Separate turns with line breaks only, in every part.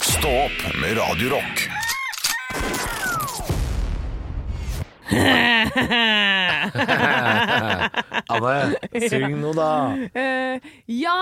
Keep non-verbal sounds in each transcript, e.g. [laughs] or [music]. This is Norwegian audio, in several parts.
Stå opp med Radio Rock.
Anne, syng noe, da.
Eh, ja,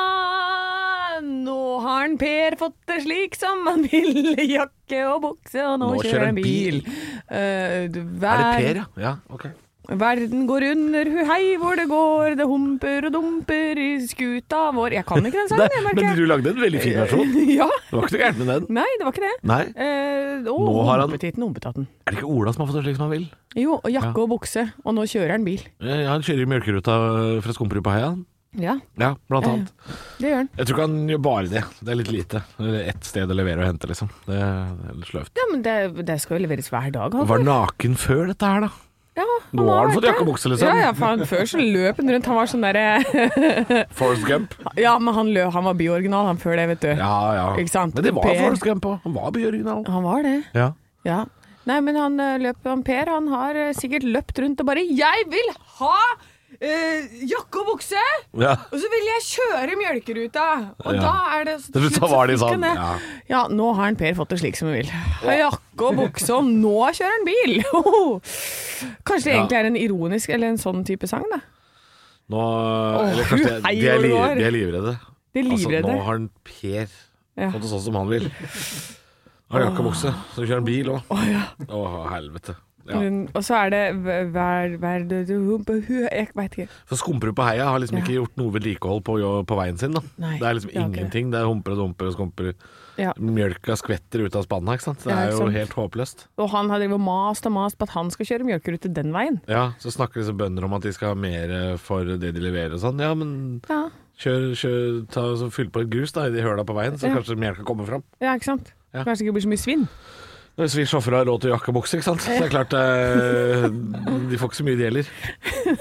nå har en Per fått det slik som han vil. Jakke og bukse, og nå, kjører han bil. Eh, du,
Er det
hver-
Per, ja? Ja, ok.
Verden går under, hu hei hvor det går, det humper og dumper i skuta vår Jeg kan ikke den sangen, jeg merker.
men du sånn. lagde en veldig fin versjon.
[laughs] Ja.
Det var ikke noe gærent med den.
Nei, det var ikke det.
Nei.
Eh, å,
Nå har han-
Humpetitten, humpetatten.
Er det ikke Ola som har fått det slik som han vil?
Jo, og jakke
Ja.
og bukse, og nå kjører han bil.
Eh, Han kjører i mjølkeruta eh, fra Skumperud på heia.
Ja,
Ja, blant
Ja, ja.
annet.
det gjør han.
Jeg tror ikke han gjør bare det. Det er litt lite. Eller Ett sted å levere og hente, liksom. Det er litt sløvt.
Ja, men det, det skal jo leveres hver dag. Han.
Var naken før dette her, da.
Ja, han
Nå har han
vært
fått
det.
jakke og bukse, liksom.
Ja, ja, faen, før så løp han rundt. Han var sånn derre
Forrest Gump.
[laughs] Ja, men han, lø, han var byoriginal, han før det, vet du.
Ja, ja.
Ikke sant?
Men det var
Per.
Forrest Gump òg. Han var byoriginal.
Han var det.
Ja.
Ja. Nei, men han eh, løp, han Per han har eh, sikkert løpt rundt og bare 'Jeg vil ha eh, jakke og bukse,
ja.
og så vil jeg kjøre mjølkeruta!' Og
Ja.
da er det
Til slutt så var de
fikk han
sånn,
det.
ja.
Ja. nå har han Per fått det slik som han vil. Har jakke og bukse, og nå kjører han bil! [laughs] Kanskje det
Ja.
egentlig er en ironisk eller en sånn type sang, da.
Nå
Åh,
Eller kanskje
hei,
de er,
hvor det
li,
går.
de er livredde.
De er livredde.
Altså, nå har han Per
Ja.
fått det sånn som han vil. Har jakke og bukse, så kjører han bil òg. Å, helvete. Ja.
Men- Og så er det hver- hver hver- Jeg veit ikke.
For Skumperud på heia har liksom ikke gjort noe vedlikehold på, på veien sin. da
Nei,
Det er liksom
det har ikke det.
ingenting. Det er humper og dumper og skumper.
Ja.
Mjølka skvetter ut av spannet. ikke sant? Det
Ja,
er
ikke
jo
sant.
helt håpløst.
Og han har drevet og mast og mast på at han skal kjøre mjølkerute den veien.
Ja, Så snakker disse bønder om at de skal ha mer eh, for det de leverer og sånn. Ja, men
Ja,
kjør, kjør ta, så fyll på et grus da i de høla på veien, så
Ja.
kanskje melka kommer fram.
ja ikke sant?
Ja.
Kanskje det ikke blir så mye svinn.
Hvis vi sjåfører har råd til jakke og bukse, ikke sant? så er det klart eh, De får ikke så mye de heller,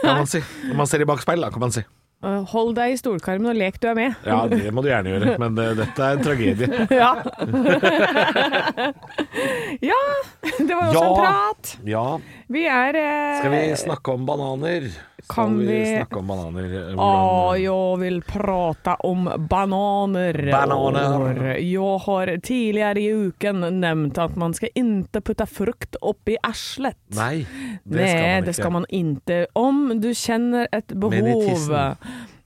kan man si. Når man ser i bakspeilet, da, kan man si.
Uh, Hold deg i stolkarmen og lek du er med.
Ja, det må du gjerne gjøre, men eh, dette er en tragedie.
[laughs] Ja. [laughs] ja, det var også
Ja.
en prat.
Ja,
Vi er eh,
skal vi snakke om bananer? Skal
Kan
vi
vi-
snakke om bananer? eh,
Å,
hvordan-
jeg vil prate om bananer.
Bananer.
Og Jeg har tidligere i uken nevnt at man skal ikke putte frukt oppi arslet.
Nei, det
Nej,
skal man ikke.
det skal man inte. Om du känner ett
Men i
behov
tissen.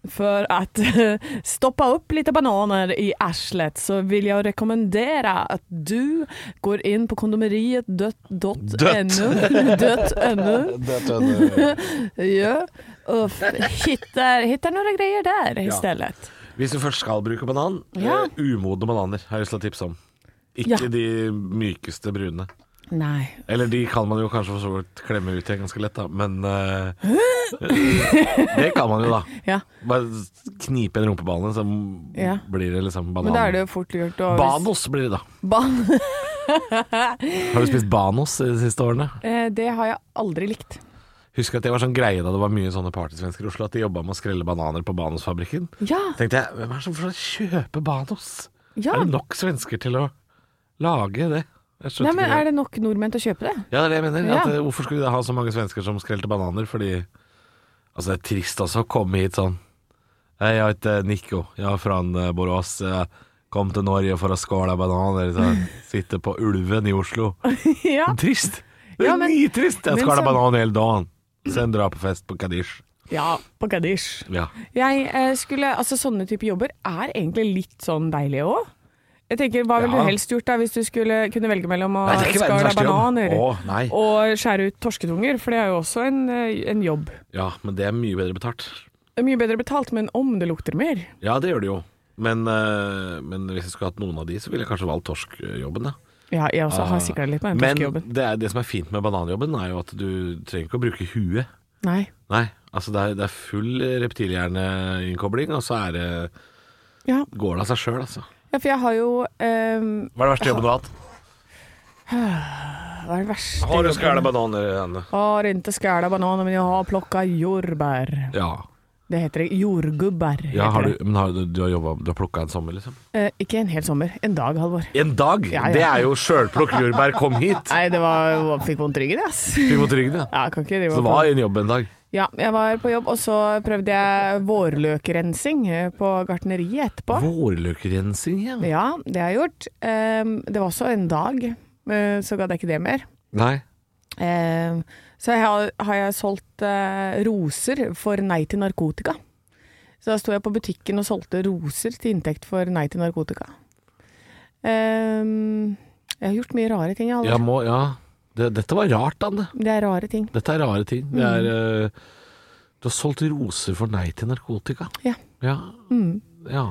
för att [laughs] stoppa upp lite bananer i arslet så vill jag rekommendera att du går in på kondomeriet dött dot
Dött.
ännu, [laughs] dött
[laughs]
ännu,
Det skjønner jeg.
[laughs] ja, och hittar, hittar några grejer där istället.
Hvis du først skal bruke banan,
Ja.
eh, umodne bananer har jeg lyst til å tipse om. Ikke
Ja.
de mykeste brune.
Nej,
Eller de kan man jo kanskje for så vidt klemme ut igjen ganske lett, da, men eh, Det kan man jo, da.
ja.
Bare knipe en rumpebane, så
Ja.
blir det liksom banan.
Men da er det jo fort gjort å
Banos blir det, da.
Ban
Har du spist banos de siste årene?
[laughs] Eh, det har jeg aldri likt.
Husker at det var sånn greie da det var mye sånne partysvensker i Oslo, at de jobba med å skrelle bananer på Banosfabrikken.
Ja,
Tenkte jeg, hvem er det som får kjøpe Banos?
ja.
Er det nok svensker til å lage det? Jeg skjønte
Nei, men
ikke
er det nok nordmenn til å kjøpe det?
Ja, det er det jeg mener.
Ja.
At, eh, hvorfor skulle vi da ha så mange svensker som skrelte bananer? Fordi altså, det er trist også å komme hit sånn Hei, jeg heter Nico. Jeg er fra eh, Borås. Jeg kom til Norge for å skåle bananer. Så
[laughs]
jeg sitter på Ulven i Oslo.
[laughs] ja.
Trist! Det er
Ja, men-
nitrist! Jeg
men
skåler
så-
banan hele dagen. Sen drar jeg på fest på Kadish.
Ja, på Kadish.
Ja.
Jeg eh, skulle, altså Sånne type jobber er egentlig litt sånn deilige òg. Jeg tenker, Hva ville
Ja.
du helst gjort da hvis du skulle kunne velge mellom å
Nei, det er ikke verdens
skåle
verste jobb.
bananer
Å, nei.
og skjære ut torsketunger? For det er jo også en, eh, en jobb.
ja, men det er mye bedre betalt.
Det er Mye bedre betalt, men om det lukter mer
Ja, det gjør det jo. Men, eh, men hvis jeg skulle hatt noen av de, så ville jeg kanskje valgt torskjobben, da.
Ja, jeg også har sikra litt med den torskejobben.
Ah. Men det, er, det som er fint med bananjobben, er jo at du trenger ikke å bruke huet.
Nei.
Nei, altså det er, det er full reptilhjerneinnkobling, og så er det,
Ja.
går det av seg sjøl, altså.
ja, for jeg har jo eh,
Hva er det verste jobben du har hatt?
Hva er det verste?
Har du skåla bananer i hendene?
Har ikke skåla bananer, men jeg har plukka jordbær.
Ja.
Det heter det. Jordgubber.
ja
heter
har du,
det.
men har, du, du har, jobbet- du har plukka en sommer, liksom?
Eh, ikke en hel sommer. En dag, Halvor.
En dag?
Ja, ja.
Det er jo sjølplukk jordbær, kom hit!
Nei, det var, fikk vondt i ryggen, ass.
Fy mot ryggen, ja.
Ja, jeg kan ikke drive
Så det
på.
var en jobb en dag.
Ja, jeg var på jobb, og så prøvde jeg vårløkrensing eh, på gartneriet etterpå.
Vårløkrensing, ja.
Ja, det har jeg gjort. Ehm, Det var også en dag, eh, så gadd jeg ikke det mer.
Nei.
Ehm, Så jeg har, har jeg solgt eh, roser for Nei til narkotika. Så da sto jeg på butikken og solgte roser til inntekt for Nei til narkotika. Ehm, Jeg har gjort mye rare ting, jeg. Halvor.
Jeg må, ja. Det, dette var rart, Anne.
Det er rare ting.
Dette er rare ting. Det er,
Mm.
eh, du har solgt roser for nei til narkotika.
Ja.
Ja.
Mm.
ja.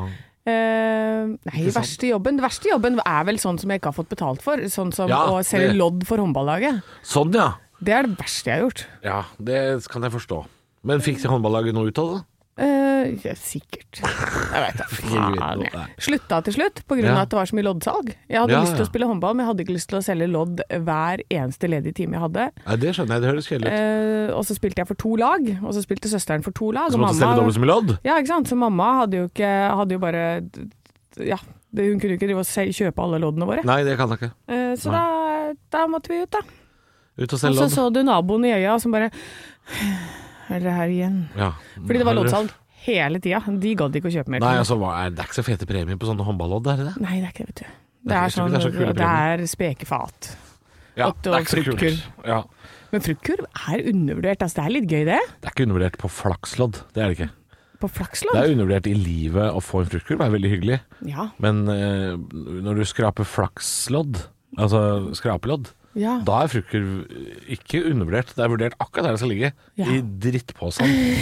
Eh, nei,
Ikke sant?
verste jobben. verste jobben er vel sånn som jeg ikke har fått betalt for. Sånn som
Ja,
å selge
det-
lodd for håndballaget.
Sånn, ja.
Det er det verste jeg har gjort.
Ja, det kan jeg forstå. Men fikk
Mm.
håndballaget noe ut av det?
Eh, ja, sikkert. Jeg veit da
Ikke
faen.
vite noe,
jeg.
nei.
Slutta til slutt pga.
Ja.
av at det var så mye loddsalg. Jeg hadde
Ja,
lyst til
ja.
å spille håndball, men jeg hadde ikke lyst til å selge lodd hver eneste ledige time jeg hadde.
Nei, Det skjønner jeg, det høres kjedelig ut.
Eh, og så spilte jeg for to lag, og så spilte søsteren for to lag.
Så
Og
måtte stemme
mamma,
dobbelt som i lodd?
ja, ikke sant? Så mamma hadde jo ikke Hadde jo bare Ja, det- hun kunne jo ikke drive og se- kjøpe alle loddene våre.
Nei, det kan jeg ikke.
Eh, så da, da måtte vi ut, da.
Ut og
Og
selge
så så
lodd.
du naboen i øya som bare Er dere her igjen?
Ja.
Fordi det var
Har du-
loddsalg hele tida. De gadd ikke å kjøpe mer.
Nei, altså, hva er, det er ikke så fete premier på sånne håndballodd, er det det?
Nei, det er ikke det, vet du. Det
Det er
er,
ikke-
sånn,
det
det
er så kule
er, spekefat.
Ja,
Åtte
det er ikke så
og
kult. Ja.
Men fruktkurv er undervurdert. Altså, det er litt gøy, det.
Det er ikke undervurdert på flakslodd, det er det ikke.
På
Det
flakslodd.
er undervurdert i livet å få en fruktkurv, er veldig hyggelig.
Ja.
Men eh, når du skraper flakslodd, altså skrapelodd,
ja.
da er fruktkurv ikke undervurdert. Det er vurdert akkurat der det skal ligge,
Ja.
i
[laughs]
drittposen.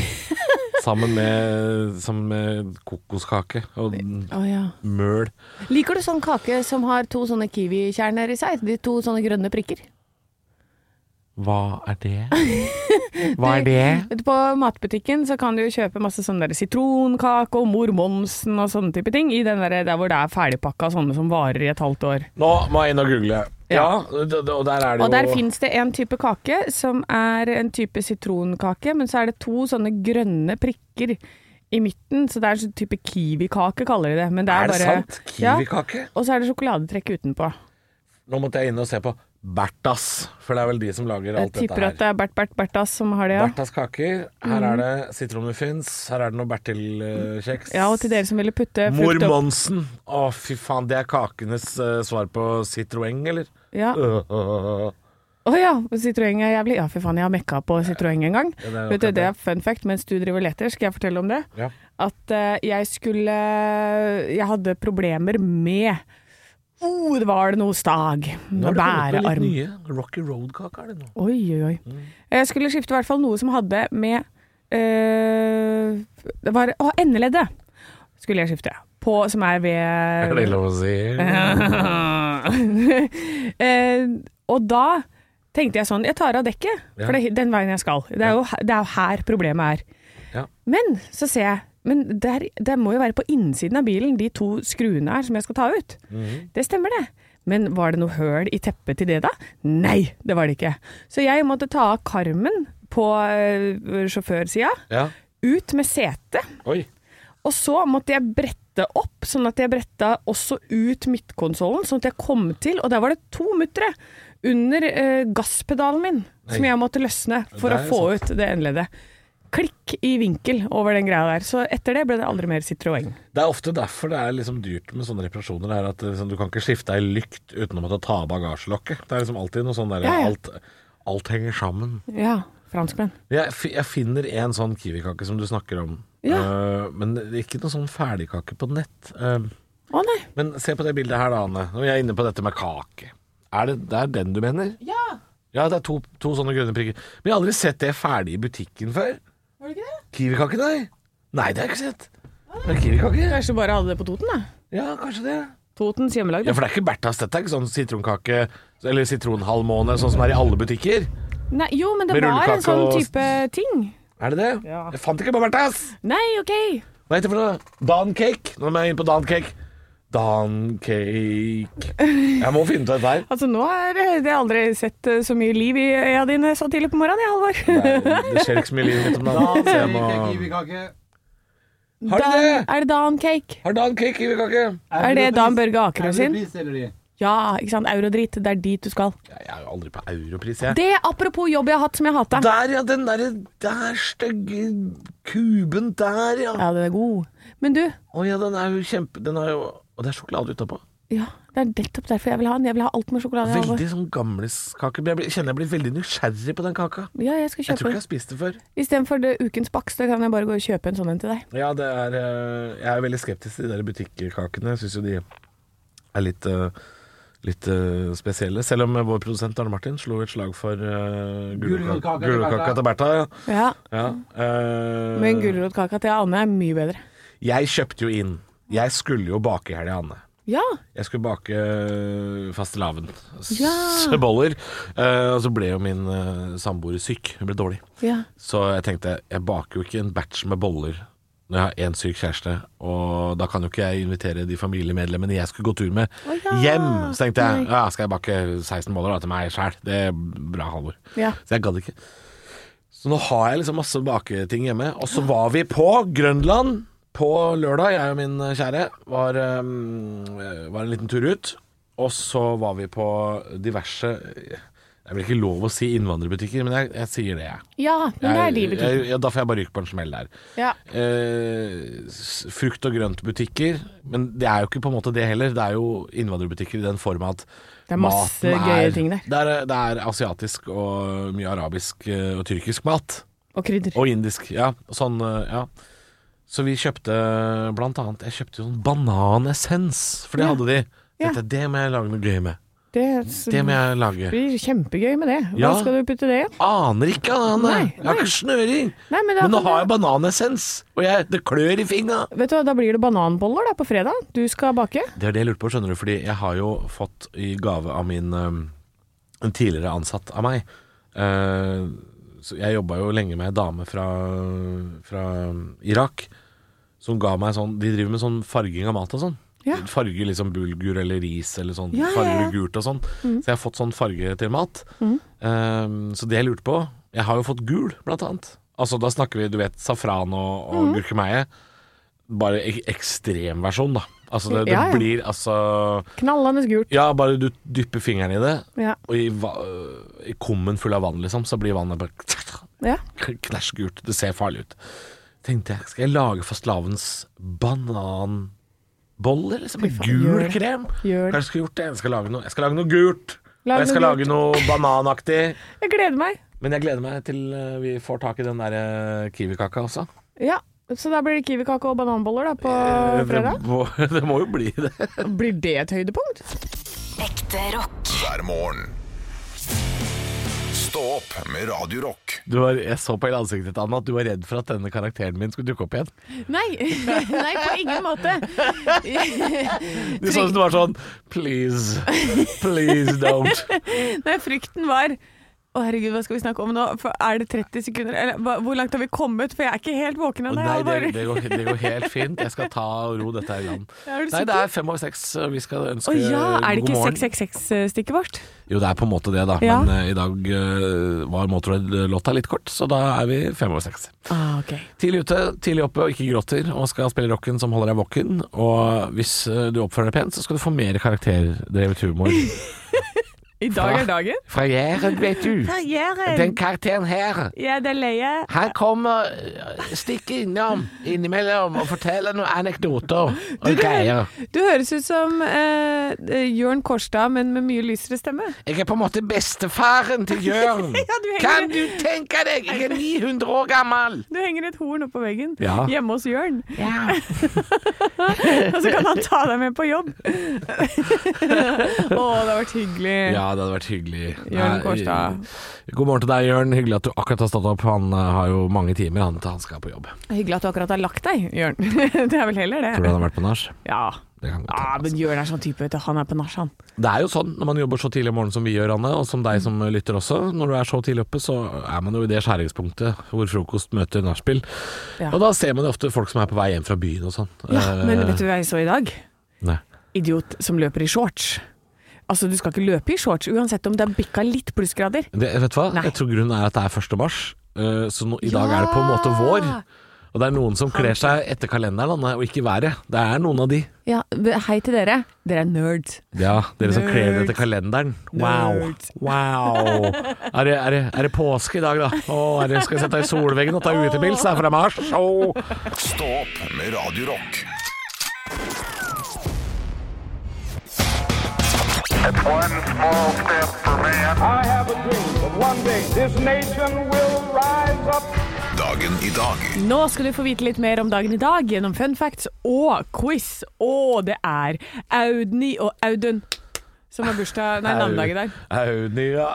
sammen med, sammen med kokoskake og
Å, ja.
møl.
Liker du sånn kake som har to sånne kiwikjerner i seg? De to sånne grønne prikker?
Hva er det? Hva er
[laughs]
det?
Vet du, På matbutikken så kan du jo kjøpe masse sånn der sitronkake og Mor Monsen og sånne type ting. I den der, der hvor det er ferdigpakka sånne som varer i et halvt år.
Nå må jeg inn og google. Ja,
Ja.
d- d- og der er det jo
Og der fins det en type kake som er en type sitronkake, men så er det to sånne grønne prikker i midten, så det er en sånn type kiwikake, kaller de det. Men det er,
Er det
bare,
sant? Kiwikake?
Ja, og så er det sjokoladetrekk utenpå.
Nå måtte jeg inn og se på Bertas, for det er vel de som lager
Jeg
alt dette
tipper
her.
at det er Bert Bert Bertas som har det, ja. Mhm.
Bertas kaker. Her er det sitronmuffins. Her er det noe Bertil-kjeks.
Ja, og til dere som ville putte
Mor
frukt opp
Monsen. Å, fy faen. Det er kakenes eh, svar på Citroën,
[laughs]
eller?
ja. Å
Øh, øh, øh.
ja, Citroën er jævlig Ja, fy faen, jeg har mekka på Citroën en gang.
Ja, det er
Vet du, det
akkurat det.
er fun fact, mens du driver og leter, skal jeg fortelle om det.
Ja.
at eh, jeg skulle Jeg hadde problemer med oh, det var det noe stag.
Nå
Med
har det kommet
bærearm.
litt nye Mm. Rocky Road-kake er det nå.
Oi, oi, oi. Jeg skulle skifte i hvert fall noe som hadde med eh, Det var Å, endeleddet skulle jeg skifte. På, som er ved
Er det lov å si?
[laughs] Eh, og da tenkte jeg sånn, jeg tar av dekket, for det er den veien jeg skal. Det er jo, he- det er jo her problemet er.
Ja.
Men så ser jeg, men der, det må jo være på innsiden av bilen, de to skruene her som jeg skal ta ut. Det stemmer det. Men var det noe høl i teppet til det da? Nei, det var det ikke. Så jeg måtte ta av karmen på øh, sjåførsida,
Ja.
ut med setet,
Oi.
og så måtte jeg brette opp, sånn at jeg bretta også ut midtkonsollen, sånn at jeg kom til, og der var det to muttere under eh, gasspedalen min, som
Nei.
jeg måtte løsne for å
Det er
få ut det endeleddet. Klikk i vinkel over den greia der. Så etter det ble det aldri mer Citroën.
Det er ofte derfor det er liksom dyrt med sånne reparasjoner. Det er at eh, liksom, Du kan ikke skifte ei lykt uten å måtte ta av bagasjelokket. Det er liksom alltid noe sånn der
Ja, ja.
Alt, alt henger sammen.
Ja, franskmenn.
Jeg, fi- jeg finner en sånn kiwikake som du snakker om. Eh, men det er ikke noe sånn ferdigkake på nett. Eh,
Å nei.
men se på det bildet her, da, Anne. Når jeg er inne på dette med kake. Er det, det er den du mener?
Ja,
Ja, det er to, to sånne grønne prikker. Men jeg har aldri sett det ferdig i butikken før.
var det ikke det?
Kiwikake, nei. Nei, det har jeg ikke sett. Det er kiwikake.
Kanskje du bare hadde det på Toten, da.
Ja, kanskje det.
Totens hjemmelag.
Ja, For det er ikke Berthas, dette er ikke sånn sitronkake eller sitronhalvmåne, sånn som er i alle butikker.
Nei, jo, men det
Med
var en
rullekake
sånn
og-
type ting.
Er det det?
Ja.
Jeg fant ikke på Berthas!
Nei, OK.
Hva heter det for noe? Dan Cake? Nå må jeg inn på Dan Cake. Dan Cake Jeg må finne ut av dette her.
Altså, nå er det jeg har aldri sett eh, så mye liv i øya dine så tidlig på morgenen, jeg, Halvor.
Det er- Det skjer ikke så mye liv mitt om dagen. så jeg må-
Kiwikake.
Har du
Dan,
det?
er det Dan Cake?
Har Dan Cake kiwikake?
Er det Dan Børge Akerø
Evnepris
sin?
eller de?
Ja, ikke sant. Eurodrit, det er dit du skal.
Jeg er jo aldri på europris, jeg.
Det apropos jobb jeg har hatt som jeg hata.
Der, ja! Den derre der stygge kuben der, ja.
Ja, den er god. Men du,
Å ja, den er jo kjempe... Den er jo Og det er sjokolade utapå.
ja, det er nettopp derfor jeg vil ha den. Jeg vil ha alt med sjokolade. i
Veldig sånn gamleskake. Jeg blir- kjenner jeg blir veldig nysgjerrig på den kaka.
alvor. Ja, jeg skal
Jeg tror
kjøpe
ikke jeg
den.
har spist det før.
Istedenfor det ukens bakst, da kan jeg bare gå og kjøpe en sånn en til deg.
Ja, det er eh, Jeg er veldig skeptisk til de der butikkakene. Jeg syns jo de er litt eh, Litt eh, spesielle. Selv om eh, vår produsent Arne Martin slo et slag for uh,
Gulrotkaka til
gulrotkaka
Bertha.
til Bertha. Ja.
Ja,
Ja, eh,
Men gulrotkaka til Anne er mye bedre.
Jeg kjøpte jo inn. Jeg skulle jo bake i helga, Anne.
Ja,
Jeg skulle bake eh,
Ja.
fastelavnsboller. Ja. Og så ble jo min eh, samboer syk. Hun ble dårlig.
ja.
Så jeg tenkte, jeg baker jo ikke en batch med boller når jeg har én syk kjæreste, og da kan jo ikke jeg invitere de familiemedlemmene jeg skulle gå tur med,
Å ja.
hjem. Så tenkte jeg ja, skal jeg bake 16 boller da, til meg sjæl? Det er bra, Halvor.
Ja.
Så jeg gadd ikke. Så nå har jeg liksom masse baketing hjemme. Og så var vi på Grønland på lørdag, jeg og min kjære. Var, eh, var en liten tur ut. Og så var vi på diverse Det er vel ikke lov å si innvandrerbutikker, men jeg, jeg sier det, jeg.
ja men det er de
Jeg-
butikkene.
jeg- Ja, da får jeg bare ryke på en smell der.
Ja.
Eh, s- frukt- og grøntbutikker, men det er jo ikke på en måte det heller. Det er jo innvandrerbutikker i den form at
Det er masse
maten
gøye ting der.
Det er, det er asiatisk og mye arabisk eh, og tyrkisk mat.
Og krydder.
Og indisk, ja. Sånn, eh, ja. Så vi kjøpte blant annet Jeg kjøpte jo sånn bananessens, for det
Ja.
hadde de.
Ja.
Dette, det må jeg lage noe gøy med.
Det,
Det må jeg lage.
blir kjempegøy med det. Hva
Ja.
skal du putte det i?
Aner ikke, Anne.
Nei,
Jeg har ikke snøring.
Nei, men da
Men
kan
nå har
du-
jeg bananessens, og jeg, det klør i fingra.
Vet du hva, da blir det bananboller da på fredag. Du skal bake.
Det er det jeg lurte på, skjønner du, fordi jeg har jo fått i gave av min øhm, en tidligere ansatt av meg. Eh, så jeg jobba jo lenge med ei dame fra, fra Irak som ga meg sånn De driver med sånn farging av mat og sånn.
Ja.
De Farger liksom bulgur eller ris eller sånn.
Ja, Mm. ja,
Farger
ja.
gult og sånn. Så jeg har fått sånn farge til mat. Eh, så det jeg lurte på Jeg har jo fått gul, blant annet. Altså da snakker vi du vet safran og, og
Mhm.
gurkemeie. Bare ek ekstremversjon, da. Altså det, det
Ja, ja.
blir altså
Knallende gult.
Ja, bare du dypper fingeren i det,
Ja.
og i, va i kummen full av vann, liksom, så blir vannet bare [laughs]
ja.
knæsj gult. Det ser farlig ut. Tenkte jeg, skal jeg lage fastelavns bananboller, liksom? Med
Fy faen, gjør
gul
det.
krem?
Gjør det.
Kanskje jeg skulle gjort det. Jeg skal lage noe, jeg skal lage noe gult.
Lag
og jeg skal
noe
lage noe bananaktig.
Jeg gleder meg.
Men jeg gleder meg til eh, vi får tak i den der eh, kiwikaka også.
Ja. Så da blir det kiwikake og bananboller da på
Eh, det,
fredag.
må, [laughs] det må jo bli det.
Blir det et høydepunkt?
Ekte rock.
hver morgen. Stå opp med Radio Rock.
jeg så på hele ansiktet ditt, Anna, at du var redd for at denne karakteren min skulle dukke opp igjen.
Nei. [laughs] Nei, på ingen måte. [laughs]
Du så ut som du var sånn Please, please
[laughs]
don't.
Nei, frykten var å herregud, hva skal vi snakke om nå? For er det 30 sekunder? Eller hva- hvor langt har vi kommet? For jeg er ikke helt våken
Å,
ennå.
Nei, det,
Halvor.
det, går, det går helt fint. Jeg skal ta og ro dette her i land.
Er du
Nei, det
sikker?
er fem over seks, og vi skal ønske
Å ja, er det
god
ikke
morgen.
666-stikket vårt?
Jo, det er på en måte det, da.
Ja.
Men eh, i dag eh, var Motorhead-låta litt kort, så da er vi fem over seks.
Ah, ok.
Tidlig ute, tidlig oppe og ikke gråter, og skal spille rocken som holder deg våken. Og hvis eh, du oppfører deg pent, så skal du få mer karakterdrevet
[laughs]
humor.
I dag er dagen.
Fra Jæren, vet du. Den karakteren her.
Ja, det er leie.
Han kommer eh, stikker innom innimellom og forteller noen anekdoter og greier.
Du høres ut som eh, Jørn Kårstad, men med mye lysere stemme. [laughs]
Jeg er på en måte bestefaren til Jørn.
du henger-
kan du tenke deg? Jeg er 900 år gammel.
Du henger et horn oppå veggen
Ja.
hjemme hos Jørn,
Ja.
og så kan han ta deg med på
[laughs]
jobb. Å, det har vært hyggelig.
Ja, det hadde vært hyggelig.
Jørn
Nei,
Kårstad.
God morgen til deg, Jørn. Hyggelig at du akkurat har stått opp. Han eh, har jo mange timer han til han skal på jobb.
Hyggelig at du akkurat har lagt deg, Jørn. [laughs] det er vel heller
Tror du
det.
han har vært på nach?
Ja.
Det kan godt
ja,
hende,
men Jørn er sånn type, vet du. Han er på nach, han.
altså. Det er jo sånn når man jobber så tidlig om morgenen som vi gjør, Anne, og som deg som eh, lytter også. Når du er så tidlig oppe, så er man jo i det skjæringspunktet hvor frokost møter nachspiel.
Ja.
Og da ser man jo ofte folk som er på vei hjem fra byen og sånn.
Ja,
Eh,
men vet du hva jeg så i dag?
Nei.
Idiot som løper i shorts. Altså, du skal ikke løpe i shorts, uansett om det er bikka litt plussgrader.
Det, vet du hva?
Nei.
Jeg tror grunnen er at det er 1. mars, eh, så nå, i dag er det på en måte vår. Og det er noen som kler seg etter kalenderen da, og ikke været. Det er noen av de.
Ja, hei til dere. Dere er nerds.
Ja, dere som kler dere
Nerds.
etter kalenderen. Wow.
Nerds.
wow. Er, det, er, det, er det påske i dag, da? Å, er det, skal jeg sette deg i solveggen og ta utepils da, fra mars? Å.
Stå opp med Radio Rock.
One small step for man.
I have a dream that one day this nation will rise up.
Dagen i dag
Nå skal du få vite litt mer om dagen i dag gjennom fun facts og quiz. Og det er Audny og Audun som har bursdag Nei, navnedag i dag.
Audny og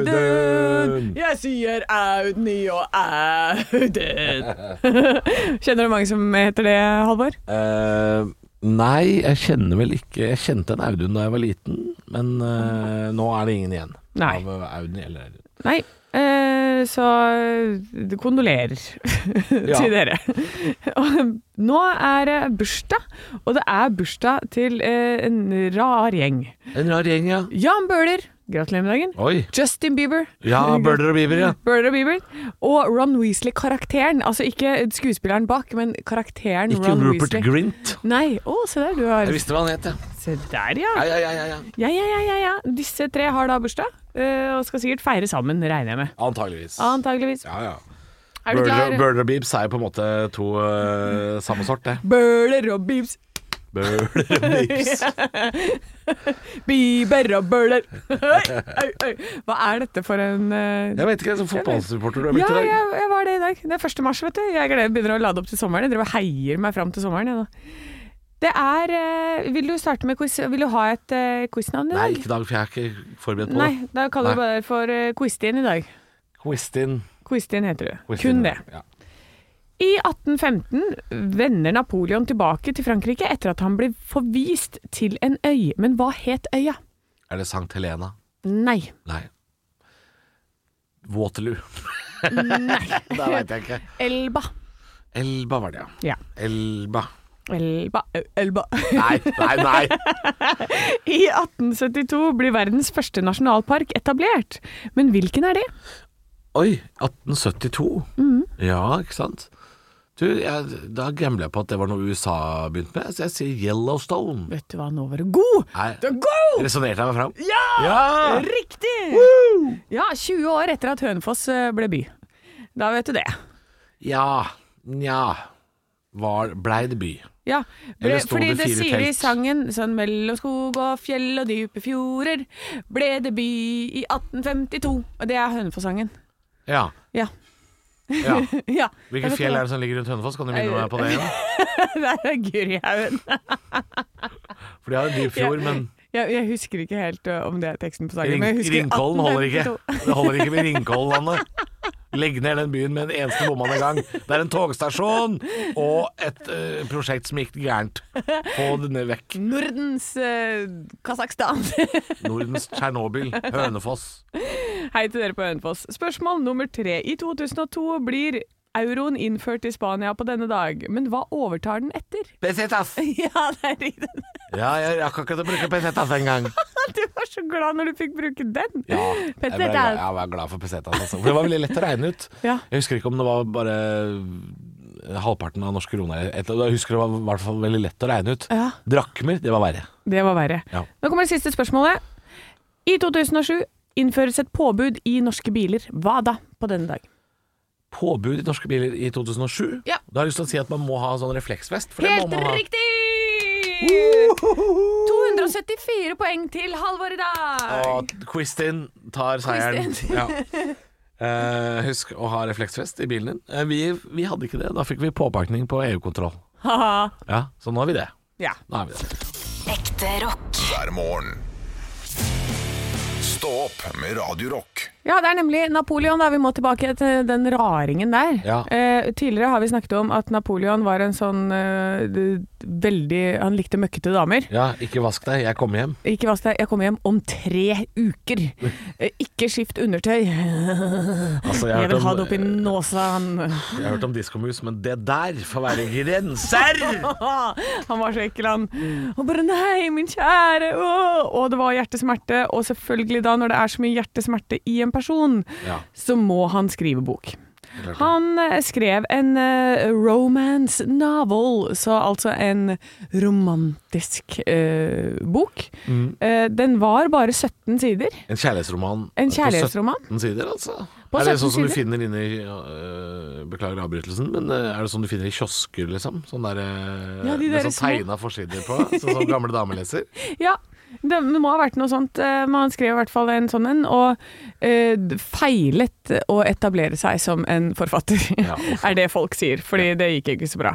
Audun.
Jeg sier Audny og Audun. [laughs] Kjenner du mange som heter det, Halvor?
Eh, nei, jeg kjenner vel ikke Jeg kjente en Audun da jeg var liten, men eh, nå er det ingen igjen
Nei.
av eh, Audun eller Audun.
Nei. eh, så eh, kondolerer
Ja.
[laughs] til dere. [laughs] Og Nå er det bursdag, og det er bursdag til eh, en rar gjeng.
En rar gjeng, ja.
Jan Bøhler, gratulerer med dagen.
Oi.
Justin Bieber.
Ja, Bøhler og Bieber, ja.
[laughs] Bøhler og Bieber. Og Ron Weasley-karakteren. Altså ikke skuespilleren bak, men karakteren
Ikke
Ron
Rupert
Weasley.
Grint.
Nei. Å, se der, du har
Jeg visste hva han het,
[laughs]
ja.
Se der, ja.
Ja, ja, ja, ja, ja.
Ja, ja, ja, ja, ja. Disse tre har da bursdag, eh, og skal sikkert feire sammen, regner jeg med.
Antageligvis.
Antageligvis.
Ja, ja.
Er du klar?
Bøhler og Biebs er jo på en måte to eh, samme sort,
[laughs]
det.
Bøler og [laughs] Bibs.
Bøhler og Biebs.
Biber og Bøler. Oi, oi, oi. Hva er dette for en eh,
Jeg vet ikke, som fotballsupporter du har
Ja,
blitt i dag.
jeg, jeg var det i dag. Det er 1. mars, vet du. Jeg gleder, begynner å lade opp til sommeren. Jeg driver og heier meg fram til sommeren. Jeg, nå. Det er eh, Vil du starte med quiz? Vil du ha et eh, quiznavn i
Nei,
dag?
ikke i dag, for jeg er ikke forberedt på
Nei,
det.
da kaller
Nei.
du bare det for eh, Quiz-Tin i dag.
Quistin.
Quiz-Tin heter du. Kun
Quistin,
det.
Ja.
I 1815 vender Napoleon tilbake til Frankrike etter at han blir forvist til en øy. Men hva het øya?
Er det Sankt Helena?
Nei.
Nei. Waterloo. Nei. [laughs] da veit jeg ikke.
Elba.
Elba var det, ja.
Ja.
Elba.
Elba. Ø- Elba. [laughs]
Nei, nei, nei.
I 1872 blir verdens første nasjonalpark etablert. Men hvilken er det?
Oi, 1872.
Mhm.
Ja, ikke sant. Du, jeg, da gambler jeg på at det var noe USA begynte med, så jeg sier Yellowstone.
Vet du hva, nå var du god!
Nei,
Du er god!
resonnerte jeg meg fram?
Ja!
Ja!
Riktig! Ja, 20 år etter at Hønefoss eh, ble by. Da vet du det.
Ja, nja. Var Blei det by?
Ja, ble,
Eller sto
fordi
det
det
fire
sier i
telt?
sangen sånn mellom skog og fjell og dype fjorder ble det by i 1852. Og det er Hønefoss-sangen.
Ja.
Ja. [laughs]
ja.
ja.
Hvilke fjell er det som ligger rundt Hønefoss? Kan du minne meg på det? igjen?
[laughs] Der er Gurihaugen.
For de har en dyp fjord, men
Jeg, jeg husker ikke helt ø, om det er teksten på sangen.
Ring,
men jeg husker
Ringkollen holder ikke.
1852.
Det holder ikke med Ringkollen-landet. Legg ned den byen med en eneste bommende gang. Det er en togstasjon og et eh, prosjekt som gikk gærent. Få det ned vekk.
Nordens uh, Kasakhstan. [laughs]
Nordens Tsjernobyl. Hønefoss.
Hei til dere på Hønefoss. Spørsmål nummer tre. I 2002 blir euroen innført i Spania på denne dag, men hva overtar den etter? [laughs]
Pesetas!
Ja, det er riktig.
Ja, jeg rakk ikke å bruke pesetas engang.
Du var så glad når du fikk bruke den. [laughs]
Ja, jeg ble
Pesetas.
glad- jeg var glad for pesetas, altså. For det var veldig lett å regne ut.
Ja.
Jeg husker ikke om det var bare eh, halvparten av norske kroner. Et- Jeg husker det var i hvert fall veldig lett å regne ut.
Ja.
Drakmer, det var verre.
Det var verre.
Ja.
Nå kommer det siste spørsmålet. I 2007 innføres et påbud i norske biler. Hva da på denne dag?
påbud i norske biler i 2007.
Ja.
Da har jeg lyst til å si at man må ha sånn refleksvest. For det
Helt
må man ha.
riktig! 274 poeng til Halvor i dag.
Og Quistin tar seieren.
[laughs]
Ja. Eh, husk å ha refleksvest i bilen din. Eh, vi, vi hadde ikke det. Da fikk vi påpakning på EU-kontroll.
Haha.
Ja, så nå har vi det.
ja.
Nå er vi det.
Ekte rock.
hver morgen. Stå opp med Radio Rock.
Ja, det er nemlig Napoleon. da, Vi må tilbake til den raringen der.
Ja.
Eh, tidligere har vi snakket om at Napoleon var en sånn eh, d- veldig Han likte møkkete damer.
Ja, ikke vask deg, jeg kommer hjem.
Ikke vask deg, jeg kommer hjem om tre uker. Eh, Ikke skift undertøy.
Altså, jeg,
Jeg
har
vil
hørt
ha det
om,
oppi nåsa. Han, [laughs]
jeg har hørt om diskomus, men det der får være grenser!
han var så ekkel, han. Og bare nei, min kjære. Åh! Og det var hjertesmerte. Og selvfølgelig da, når det er så mye hjertesmerte i en person,
Ja.
så må han skrive bok. Han eh, skrev en eh, romance novel, så altså en romantisk eh, bok. Eh, den var bare 17 sider.
En kjærlighetsroman.
En
på
kjærlighetsroman.
17 sider, altså.
På
er det
17
sånn som du
sider?
finner inne i øh, Beklager avbrytelsen, men øh, er det sånn du finner i kiosker, liksom? Sånn der, øh,
Ja, de
med
der
sånn
små.
tegna forsider på, sånn som gamle damer
[laughs]
leser?
Ja, det, det må ha vært noe sånt, eh, men han skrev i hvert fall en sånn en, og eh, d- feilet å etablere seg som en forfatter, [laughs]
Ja, uff.
er det folk sier, fordi det gikk ikke så bra.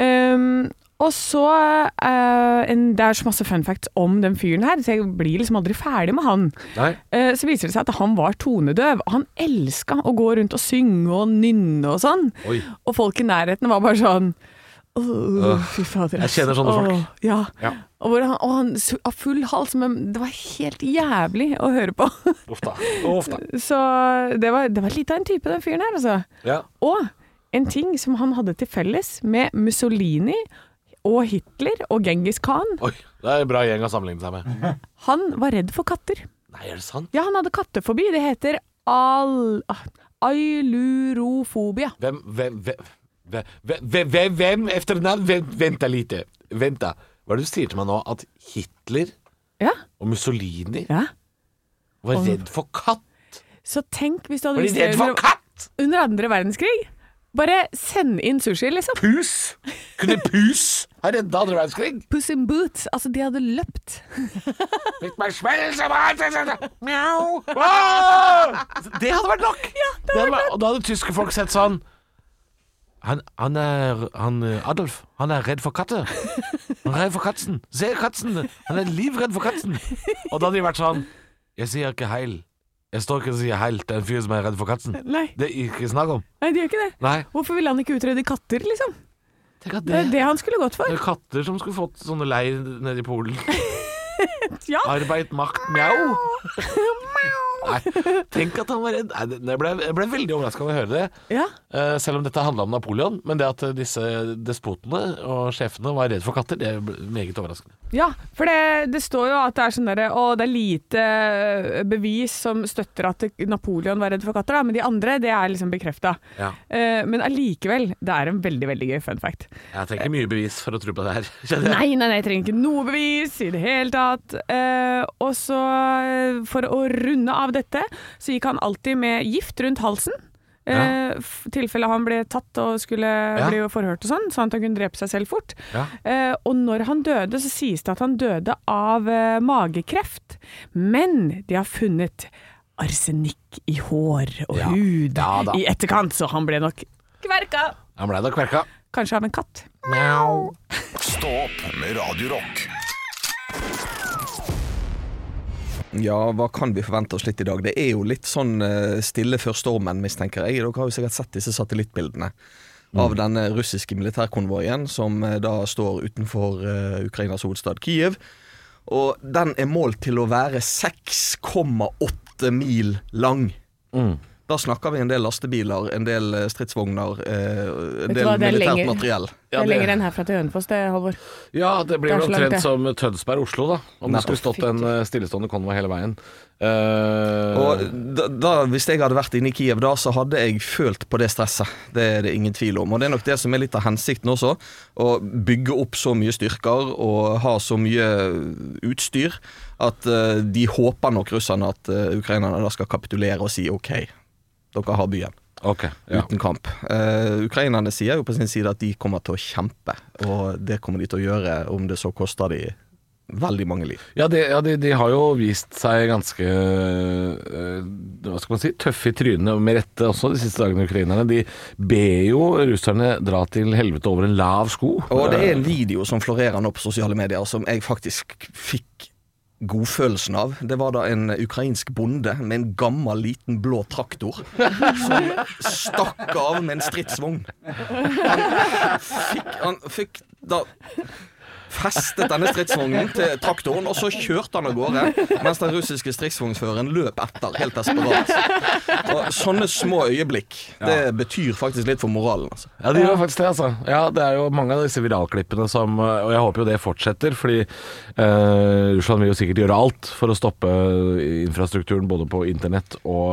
Ehm, og så, eh, en, det er så masse fun facts om den fyren her, så jeg blir liksom aldri ferdig med han.
Nei.
Eh, Så viser det seg at han var tonedøv, og han elska å gå rundt og synge og nynne og sånn.
Oi.
Og folk i nærheten var bare sånn Åh, fy fader.
jeg
ass.
kjenner sånne folk.
Åh, Ja.
Ja.
Og, hvor han, og han su- av full hals, men det var helt jævlig å høre på. [laughs]
Uff da. Uff da.
Så det var, det var litt av en type, den fyren her, altså.
Ja.
Og en ting som han hadde til felles med Mussolini og Hitler og Genghis Khan,
Oi. Det er en bra gjeng å sammenligne seg med.
han var redd for katter.
Nei, er det sant?
Ja, han hadde kattefobi. Det heter al... ah, Ailurofobia.
Hvem Hvem Hvem, hvem, hvem, hvem, hvem efternavn? Vent- Vent da lite. Vent da. Hva er det du sier til meg nå? At Hitler
Ja.
og Mussolini
ja.
var redd for katt?
Så tenk hvis du hadde
Var de
visst det
redd for
under,
katt?
under andre verdenskrig. Bare send inn sushi, liksom.
Pus? Kunne pus ha redda andre verdenskrig?
Puss in boots. Altså, de hadde løpt.
Fikk meg smell som alt Mjau! Åh! Ah! Det hadde vært nok! det hadde vært, og da hadde tyske folk sett sånn han, han er han, eh, Adolf, han er redd for katter. Han er redd for katten. Se katten! Han er livredd for katten. Og da hadde de vært sånn Jeg sier ikke heil. Jeg står ikke og sier heil til en fyr som er redd for katten.
Nei,
Det er ikke snakk om.
nei, de gjør ikke det.
Nei.
Hvorfor ville han ikke utrydde katter, liksom?
Tenk at
Det er det han skulle gått
Det
for.
er katter som skulle fått sånne leir nede i Polen.
Ja.
Arbeid, makt, mjau. Nei, tenk at han var redd. Nei, det- det ble, jeg ble veldig overraska over å høre det.
ja.
Eh, selv om dette handla om Napoleon. Men det at eh, disse despotene og sjefene var redd for katter, det ble meget overraskende.
Ja, for det, det står jo at det er sånn derre Å, det er lite eh, bevis som støtter at Napoleon var redd for katter, da, men de andre, det er liksom bekrefta.
Ja.
men allikevel, det er en veldig, veldig gøy fun fact.
Jeg trenger mye bevis for å tro på det her. [laughs] Kjenner jeg.
Nei, nei, nei, jeg trenger ikke noe bevis i det hele tatt. Eh, og så, eh, for å runde av dette, så gikk han alltid med gift rundt halsen. Eh, I
Ja.
tilfelle han ble tatt og skulle
Ja.
bli forhørt og sånn, sånn at han kunne drepe seg selv fort.
Ja.
Eh, og når han døde, så sies det at han døde av eh, magekreft. Men de har funnet arsenikk i hår og
Ja.
hud
Ja da.
i etterkant, så han ble nok kverka.
Han blei da kverka.
Kanskje av en katt.
Mjau.
Stå opp med Radio Rock.
Ja, hva kan vi forvente oss litt i dag? Det er jo litt sånn eh, stille før stormen, mistenker jeg. Dere har jo sikkert sett disse satellittbildene av denne russiske militærkonvoien som eh, da står utenfor eh, Ukrainas hovedstad Kiev. Og den er målt til å være 6,8 mil lang. Da snakker vi en del lastebiler, en del eh, stridsvogner, eh,
Vet du
en del
hva, det er
militært
lenger.
materiell.
Ja, det-
enn herfra til Hønefoss, det, Halvor.
Ja, det blir
Det er
vel
så langt,
omtrent
det.
som Tønsberg-Oslo, da. Om
Nei.
det skulle stått en eh, stillestående konvoi hele veien. Eh,
Og da, da, hvis jeg hadde vært inne i Kiev da, så hadde jeg følt på det stresset. Det er det ingen tvil om. Og det er nok det som er litt av hensikten også. Å bygge opp så mye styrker og ha så mye utstyr at eh, de håper nok russerne at eh, ukrainerne da skal kapitulere og si OK, dere har byen.
Ok, ja.
Uten kamp. Eh, ukrainerne sier jo på sin side at de kommer til å kjempe, og det kommer de til å gjøre om det så koster de veldig mange liv.
Ja, de, ja de, de har jo vist seg ganske eh, hva skal man si, tøffe i trynet, og med rette også, de siste dagene, ukrainerne. De ber jo russerne dra til helvete over en lav sko.
Og det er en video som florerer nå på sosiale medier, som jeg faktisk fikk godfølelsen av. Det var da en ukrainsk bonde med en gammel, liten blå traktor som stakk av med en stridsvogn. Han fikk, han fikk da festet denne stridsvognen til traktoren, og så kjørte han av gårde mens den russiske stridsvognføreren løp etter, helt desperat. Og sånne små øyeblikk, det betyr faktisk litt for moralen, altså.
Ja, det gjør faktisk det, altså. Ja, det er jo mange av disse viralklippene som eh, Og jeg håper jo det fortsetter, fordi eh, Russland vil jo sikkert gjøre alt for å stoppe infrastrukturen både på internett og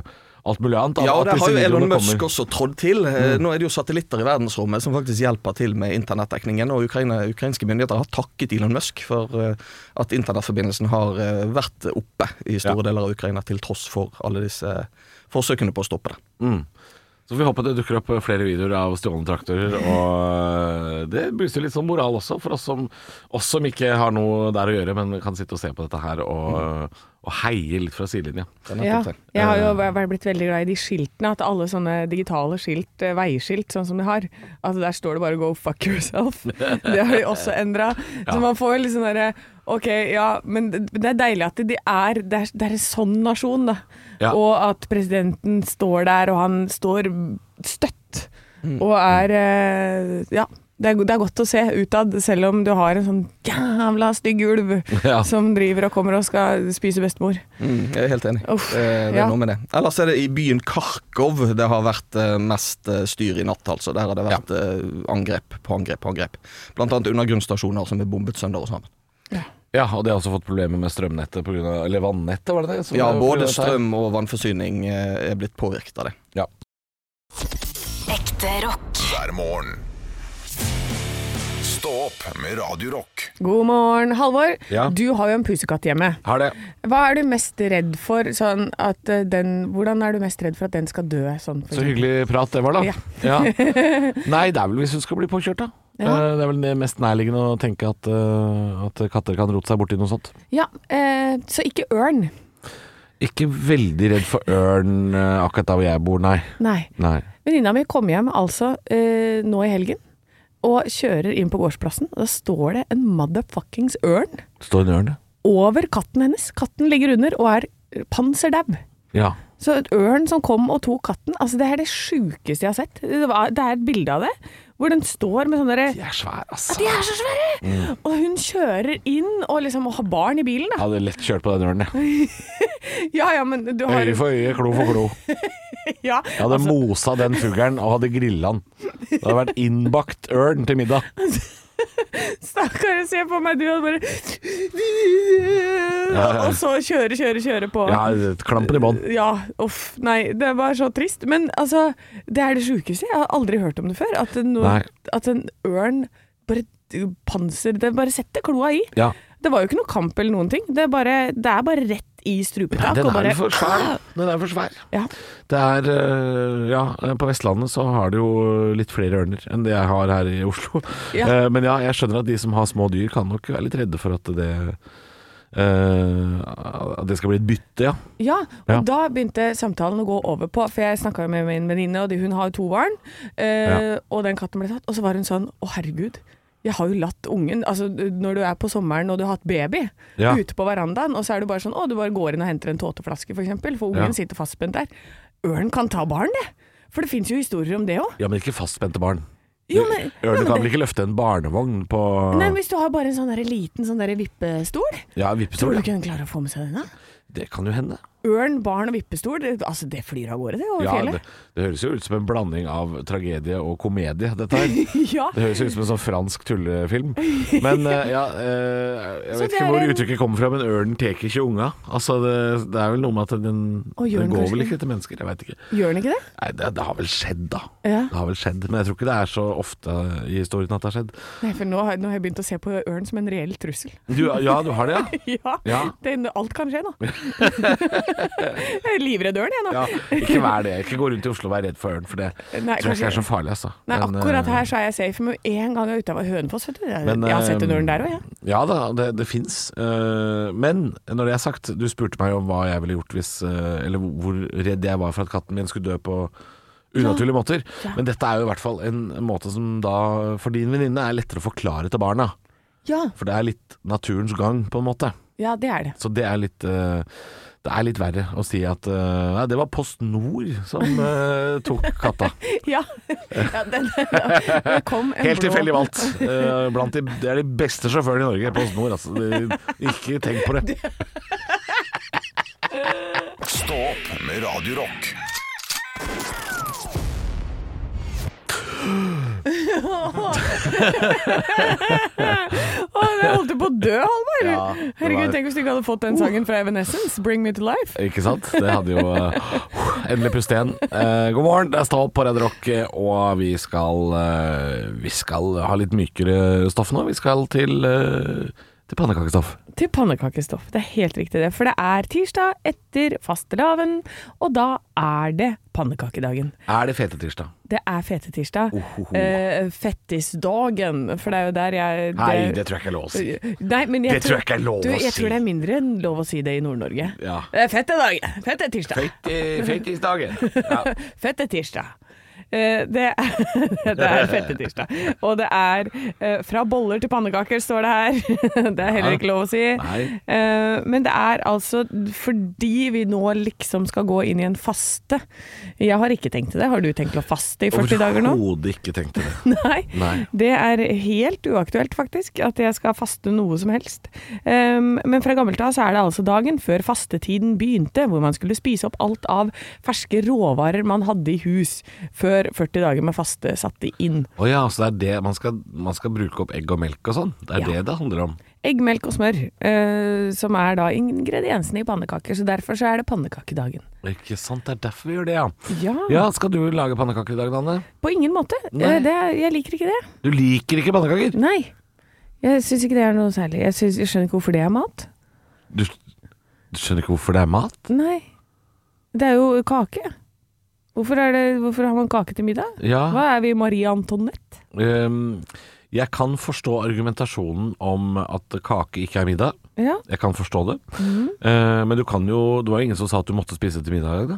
eh, alt mulig annet.
Ja, og
at
der
disse
har jo Elon
videoene
Musk
kommer. Mm.
også trådd til. Eh, Nå er det jo satellitter i verdensrommet som faktisk hjelper til med internettdekningen, og Ukraina, ukrainske myndigheter har takket Elon Musk for eh, at internettforbindelsen har eh, vært oppe i store deler av Ukraina, til tross for alle disse eh, forsøkene på å stoppe det.
Mm. Så får vi håpe det dukker opp flere videoer av stjålne traktorer. Og det booster litt sånn moral også, for oss som, oss som ikke har noe der å gjøre, men kan sitte og se på dette her og, og heie litt fra sidelinja.
Det er nettopp
Ja,
det.
jeg har jo vært- blitt veldig glad i de skiltene. At alle sånne digitale skilt, eh, veiskilt, sånn som de har, at der står det bare 'go fuck
[laughs]
yourself'. Det har de også endra. Så man får jo litt sånn derre Ok, ja, men det det er deilig at de er Det er, det er en sånn nasjon, da.
Ja.
Og at presidenten står der, og han står støtt.
Mm.
Og er eh, Ja. Det er, go- det er godt å se utad, selv om du har en sånn jævla stygg ulv
Ja.
som driver og kommer og skal spise bestemor.
Mm, jeg er helt enig.
Uff,
Eh, det er
ja.
noe med det. Ellers er det i byen Kharkov det har vært eh, mest eh, styr i natt, altså. Der har det vært eh, angrep på angrep på angrep. Blant annet undergrunnsstasjoner som er bombet søndag og sånn. sammen.
Ja, og de har også fått problemer med strømnettet, på grunn av, eller vannettet, var det det? Som-
Ja,
på grunn av
både
dette her.
strøm og vannforsyning eh, er blitt påvirket av det.
Ja.
Ekte rock.
hver morgen. Stå opp med Radio Rock.
God morgen, Halvor.
Ja.
Du har jo en pusekatt hjemme.
Har det.
Hva er du mest redd for? Sånn at eh, den, hvordan er du mest redd for at den skal dø? Sånn, for
Så
eksempel?
hyggelig prat det var, da.
Ja.
Ja. Nei, det er vel hvis hun skal bli påkjørt, da.
Ja.
Eh, Det er vel det mest nærliggende å tenke at, eh, at katter kan rote seg borti noe sånt.
Ja, eh, så ikke ørn.
Ikke veldig redd for ørn eh, akkurat der hvor jeg bor, nei.
Nei.
nei.
Venninna mi kom hjem altså eh, nå i helgen. Og kjører inn på gårdsplassen, og da står det en motherfuckings ørn
Står en ørn, ja.
over katten hennes. Katten ligger under og er panserdau.
ja.
Så et ørn som kom og tok katten, altså det er det sjukeste jeg har sett. Det, var, det er et bilde av det, hvor den står med sånne derre-
De er svære,
Ja,
altså.
de er så svære! Og hun kjører inn og liksom har barn i bilen, da.
Jeg hadde lett kjørt på den ørnen, jeg.
[laughs] Ja ja, men du har
Øye for øye, klo for klo.
ja,
Jeg hadde
altså,
mosa den fuglen og hadde grilla den. Det hadde vært innbakt ørn til middag.
Stakkar, se på meg, du hadde bare
ja.
Og så kjøre, kjøre, kjøre på.
Ja, Klampen i bånn.
Ja, uff. Nei, det var så trist. Men altså, det er det sjukeste. Jeg har aldri hørt om det før. At, no,
Nei.
at en ørn bare panser Det bare setter kloa i.
Ja.
Det var jo ikke noe kamp eller noen ting. Det er bare, det er bare rett i
Nei,
strupetak.
den
og
er
bare,
jo
[clears throat]
for svær. Den er for svær.
Ja.
Det er øh, Ja, på Vestlandet så har det jo litt flere ørner enn det jeg har her i Oslo.
Ja.
Eh, Men ja, jeg skjønner at de som har små dyr kan nok være litt redde for at det eh, At det skal bli et bytte, ja.
Ja, og
Ja.
da begynte samtalen å gå over på For jeg snakka med min venninne, og de- hun har jo to barn.
Ja.
Eh, Og den katten ble tatt. Og så var hun sånn Å, herregud. Jeg har jo latt ungen Altså, når du er på sommeren og du har hatt baby
Ja.
ute på verandaen, og så er du bare sånn Å, du bare går inn og henter en tåteflaske, for eksempel, for ungen
Ja.
sitter fastspent der. Ørn kan ta barn, det. For det fins jo historier om det òg.
Ja, men ikke fastspente barn.
Jo, men- ja,
Ørner
men
kan vel
det-
ikke løfte en barnevogn på
Nei, men Hvis du har bare en sånn der liten sånn der vippestol,
Ja,
tror
vippestol.
du
Ja.
ikke hun klarer å få med seg den? da?
Det kan jo hende.
Ørn, barn og vippestol, det, altså det flyr av gårde, det, over
Ja, det,
fjellet.
det høres jo ut som en blanding av tragedie og komedie,
[laughs]
dette her.
ja,
Det høres jo ut som en sånn fransk tullefilm. Men eh, ja, eh, jeg
Så
vet
det
ikke
er
hvor
en-
uttrykket kommer fra, men ørnen tar ikke unga. Altså, det, det er vel noe med at den,
Å, gjør
den
den
går
kanskje
vel
det?
ikke til mennesker, jeg veit ikke.
Gjør den ikke det?
Nei, det, det har vel skjedd, da.
Ja.
Det har vel skjedd, Men jeg tror ikke det er så ofte i historien at det har skjedd.
Nei, for nå har, nå har jeg begynt å se på ørn som en reell trussel. [laughs]
Du, ja, du har det, ja?
Ja,
Ja.
Det, alt kan
[laughs]
skje nå. jeg er livredd ørn, jeg nå.
ja? Ikke vær det. Ikke gå rundt i Oslo og vær redd for ørn, for det
Nei,
tror jeg ikke
kanskje-
er så farlig, altså.
Nei,
Men, eh,
akkurat her så er jeg safe, men en gang jeg er ute av Hønefoss, vet du. Jeg,
Men,
jeg har
eh,
sett en ørn der òg, jeg.
Ja da, det, det fins. Eh, men når det er sagt, du spurte meg om hva jeg ville gjort hvis eh, Eller hvor redd jeg var for at katten min skulle dø på unaturlige måter.
Ja.
Men dette er jo i hvert fall en måte som da for din venninne er lettere å forklare til barna.
Ja.
For det er litt naturens gang, på en måte.
ja, det er det.
Så det er litt eh, det er litt verre å si at eh, nei, det var Post Nord som eh, tok katta.
Ja. ja den, det kom [laughs] en
Helt
blå-
tilfeldig valgt. Eh, blant de, det er de beste sjåførene i Norge, Post Nord. Altså. De, ikke tenk på det.
Stå opp med Radio Rock.
[laughs] Å, jeg holdt jo på å dø, Halvor!
Ja, det var-
Herregud, tenk hvis du ikke hadde fått den sangen fra Evanescence, 'Bring Me To Life'.
Ikke sant? Det hadde jo eh, Endelig puste igjen. Eh, god morgen, det er Stå opp på Red Rock, eh, og vi skal, eh, vi skal ha litt mykere stoff nå. Vi skal til, eh, til pannekakestoff.
Til pannekakestoff. Det er helt riktig, det. For det er tirsdag etter fastelavn, og da er det pannekakedagen.
Er det fete tirsdag?
Det er fetetirsdag.
Ohoho.
Eh, fettisdagen, for det er jo der jeg
Nei, det tror jeg ikke er lov å si.
Nei, men jeg
Det tror jeg ikke er lov
du,
å
Jeg
si.
tror det er mindre enn lov å si det i Nord-Norge.
Ja.
Det er fette dag, fette tirsdag,
Fetisdagen. Ja.
fette tirsdag. Eh, Det er, det er [laughs] fette tirsdag. Og det er eh, fra boller til pannekaker, står det her. [laughs] Det er heller ikke lov å si.
Nei.
[laughs] Eh, Men det er altså fordi vi nå liksom skal gå inn i en faste. Jeg har ikke tenkt til det. Har du tenkt til å faste i 40 dager nå?
Overhodet ikke tenkte det.
Nei.
Nei.
Det er helt uaktuelt, faktisk, at jeg skal faste noe som helst. Ehm, men fra gammelt av så er det altså dagen før fastetiden begynte, hvor man skulle spise opp alt av ferske råvarer man hadde i hus, før 40 dager med faste satte inn.
Å ja, så det er det man skal, man skal bruke opp egg og melk og sånn? Det er
Ja.
det det handler om?
Egg, melk og smør, eh, som er da ingrediensene i pannekaker, så derfor så er det pannekakedagen.
Ikke sant, det er derfor vi gjør det, ja.
Ja,
Ja, Skal du lage pannekaker i dag, Danne?
på ingen måte.
Nei.
Eh, Det, er- jeg liker ikke det.
Du liker ikke pannekaker?
Nei. Jeg syns ikke det er noe særlig. Jeg, synes, jeg skjønner ikke hvorfor det er mat.
Du, du skjønner ikke hvorfor det er mat?
Nei. Det er jo kake. Hvorfor, er det, hvorfor har man kake til middag?
Ja.
Hva er vi, Marie Antoinette?
Ehm, jeg kan forstå argumentasjonen om at kake ikke er middag.
Ja.
Jeg kan forstå det.
Mhm.
Eh, men du kan jo Det var jo ingen som sa at du måtte spise til middag i dag, da.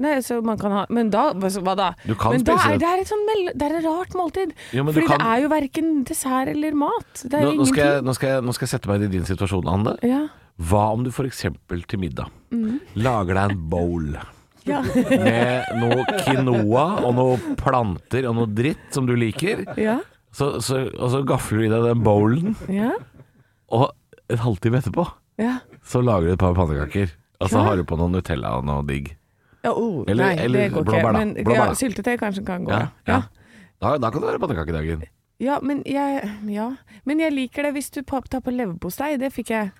Nei, så man kan ha Men da hva så- Hva da?
Du kan
men da
spise
er
det.
det, er et sånn mell, det er et rart måltid.
Ja, men du
Fordi
kan-
det er jo verken dessert eller mat. Det er
Nå,
jo
nå,
ingenting.
skal jeg, nå, skal jeg, nå skal jeg sette meg inn i din situasjon, Anne.
Ja.
Hva om du f.eks. til middag lager deg en bowl
Mhm. Ja.
med noe quinoa og noe planter og noe dritt som du liker,
ja.
så, så, og så gafler du i deg den bowlen,
ja.
og en halvtime etterpå
ja.
så lager du et par pannekaker. Og så
Ja.
har du på noe Nutella og noe digg.
Ja, oh,
Eller-
nei,
eller
det går
blåbær,
ikke.
da.
Men
Blåbær, da.
ja, syltetøy kanskje kan gå.
Ja,
ja.
ja. Da, da kan det være pannekakedagen.
Ja, men jeg, ja. men jeg liker det hvis du pa- tar på leverpostei. Det fikk jeg.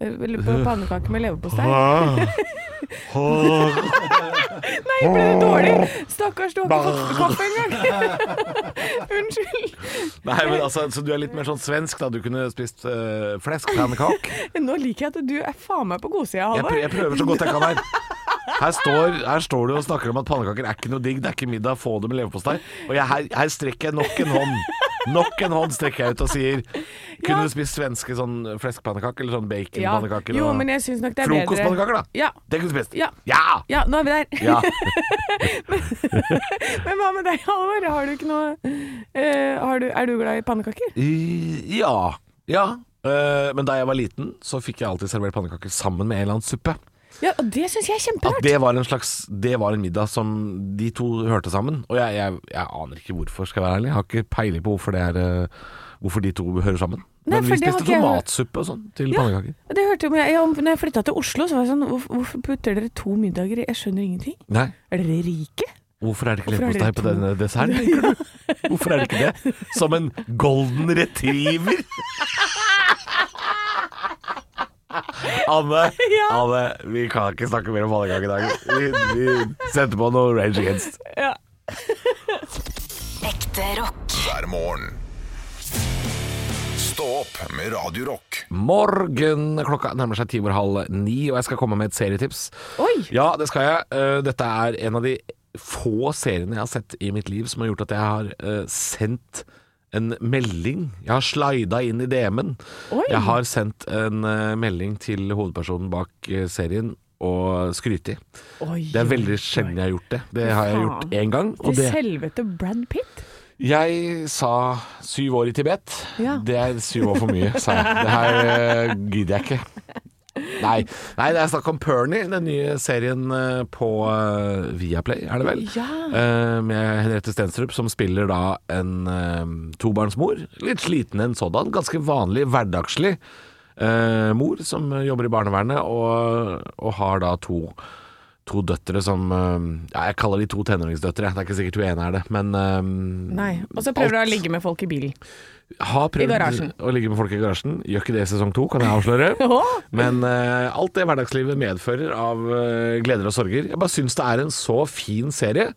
Eh, Eller på pannekaker med leverpostei. Nei, ble det dårlig? Stakkars, du har ikke fått kaffe engang. [laughs] Unnskyld.
Nei, men altså, Så du er litt mer sånn svensk, da. Du kunne spist uh,
[laughs]
fleskpannekak.
Nå liker jeg at du er faen meg på godsida,
Jeg, pr
Halvor.
jeg prøver så godt jeg kan her. Her står, her står du og snakker om at pannekaker er ikke noe digg, det er ikke middag, få det med leverpostei. Og jeg, her, her strekker jeg nok en hånd. Nok en hånd strekker jeg ut og sier Kunne
Ja.
du spist svenske sånn fleskpannekaker eller sånn
Ja.
baconpannekaker?
Jo,
og-
men jeg syns nok det er bedre
Frokostpannekaker, da.
Ja.
Det kunne du spist.
Ja.
Ja!
ja, nå er vi der.
Ja.
[laughs] Men hva med deg, Halvor? Har du ikke noe eh, har du, Er du glad i pannekaker?
I- ja. ja. Eh, men da jeg var liten, så fikk jeg alltid servert pannekaker sammen med en eller annen suppe.
Ja, og det syns jeg er
At
kjemperart.
det var en slags Det var en middag som de to hørte sammen. Og jeg, jeg, jeg aner ikke hvorfor, skal jeg være ærlig. Jeg har ikke peiling på hvorfor det er eh, Hvorfor de to hører sammen.
Nei,
Men
for
vi
det har
spiste
ikke jeg hørt.
tomatsuppe og sånn til
Ja.
pannekaker.
Det hørte jeg, men jeg, jeg, når jeg flytta til Oslo, så var jeg sånn Hvorfor, hvorfor putter dere to middager i? Jeg skjønner ingenting.
Nei,
Er dere rike?
hvorfor er det ikke
Hvorfor er det
leverpostei på
to?
denne desserten,
[laughs]
tenker du? Hvorfor er det ikke det? Som en golden retriever. Anne,
Ja.
Anne, vi kan ikke snakke mer om pannekaker i dag. Vi, vi setter på noe Rage Against.
Ja.
Ekte rock.
hver morgen. Stå opp med Radio Rock.
Morgen klokka nærmer seg ti over halv ni, og jeg skal komme med et serietips.
Oi!
Ja, det skal jeg. Eh, Dette er en av de få seriene jeg har sett i mitt liv som har gjort at jeg har eh, sendt en melding. Jeg har slida inn i DM-en.
Oi.
Jeg har sendt en eh, melding til hovedpersonen bak eh, serien og skrytt i.
Oi,
Det er
oi,
veldig
oi.
sjelden jeg har gjort det. Det har jeg gjort
Faen.
én gang.
Til
Og det,
selvete Brad Pitt?
jeg sa syv år i Tibet.
Ja.
Det er syv år for mye, sa jeg. Det her eh, gidder jeg ikke. Nei, nei, det er snakk om Pernie, den nye serien eh, på eh, Viaplay, er det vel?
Ja.
Eh, med Henriette Stenstrup, som spiller da en eh, tobarnsmor. Litt sliten en sådan. Ganske vanlig, hverdagslig eh, mor som jobber i barnevernet, og, og har da to to døtre som eh, Ja, jeg kaller de to tenåringsdøtre. jeg. Det er ikke sikkert hun ene er det, men eh,
Nei. Og så prøver du
alt-
å ligge med folk i bilen.
Har prøvd
I garasjen.
å ligge med folk i garasjen. Gjør ikke det i sesong to, kan jeg
[laughs]
avsløre.
Åh!
Men eh, alt det hverdagslivet medfører av eh, gleder og sorger. Jeg bare syns det er en så fin serie.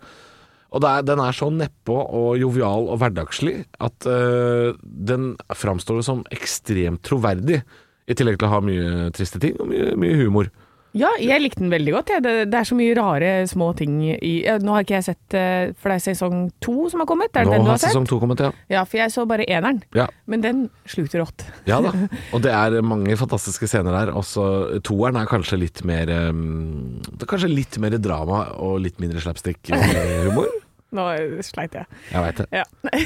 Og det er, den er så nedpå og jovial og hverdagslig at eh, den framstår som ekstremt troverdig. I tillegg til å ha mye triste ting og mye, mye humor.
Ja, jeg likte den veldig godt. jeg. Det, det er så mye rare små ting i ja, Nå har ikke jeg sett eh, For det er sesong to som har kommet? Er det
Nå
den du
har
har sett?
sesong to kommet, ja.
Ja, for jeg så bare eneren.
ja.
Men den slukte rått.
Ja da. Og det er mange fantastiske scener der. Også toeren er kanskje litt mer um, Det er kanskje litt mer drama og litt mindre slapstick-humor.
Nå sleit jeg.
Jeg veit det.
Ja.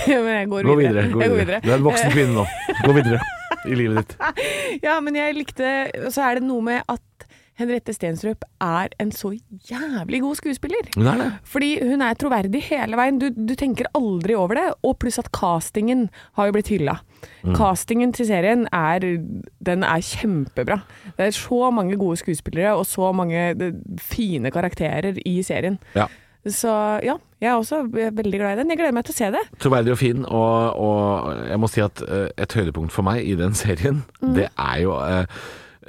[laughs] Men jeg går
Gå videre. Gå
Jeg går
videre. Du er en voksen kvinne nå. Gå videre i livet ditt.
Ja, men jeg likte Og så er det noe med at Henriette Stensrup er en så jævlig god skuespiller.
Hun er det.
Fordi hun er troverdig hele veien. Du, du tenker aldri over det. Og pluss at castingen har jo blitt hylla.
Mm.
Castingen til serien er, den er kjempebra. Det er så mange gode skuespillere og så mange eh, fine karakterer i serien.
Ja.
Så ja, jeg er også veldig glad i den. Jeg gleder meg til å se det. [laughs]
Troverdig og fin, og, og jeg må si at eh, et høydepunkt for meg i den serien, det er jo eh,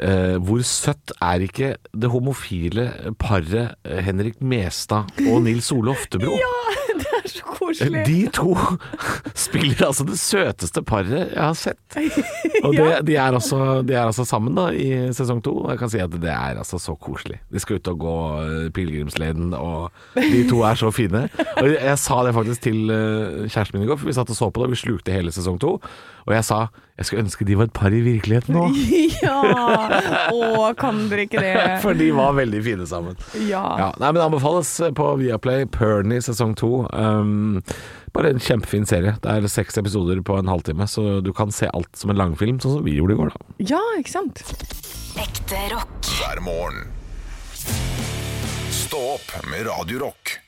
eh, hvor søtt er ikke det homofile paret eh, Henrik Mestad og Nils Ole Oftebro?
Det er så koselig.
De to [laughs] spiller altså det søteste paret jeg har sett. Og det, de, er altså, de er altså sammen da i sesong to. Og jeg kan si at det er altså så koselig. De skal ut og gå eh, pilegrimsleden, og de to er så fine. Og jeg, jeg sa det faktisk til eh, kjæresten min i går, for vi satt og så på det, og vi slukte hele sesong to. Og jeg sa jeg skulle ønske de var et par i virkeligheten òg.
[laughs] Ja! Å, kan dere ikke det?
[laughs] For de var veldig fine sammen.
Ja.
Ja, nei, men det anbefales eh, på Viaplay Perny sesong to. Um, bare en kjempefin serie. Det er seks episoder på en halvtime, så du kan se alt som en langfilm, sånn som vi gjorde i går, da.
Ja, ikke sant?
Ekte rock.
hver morgen. Stå opp med Radio Rock.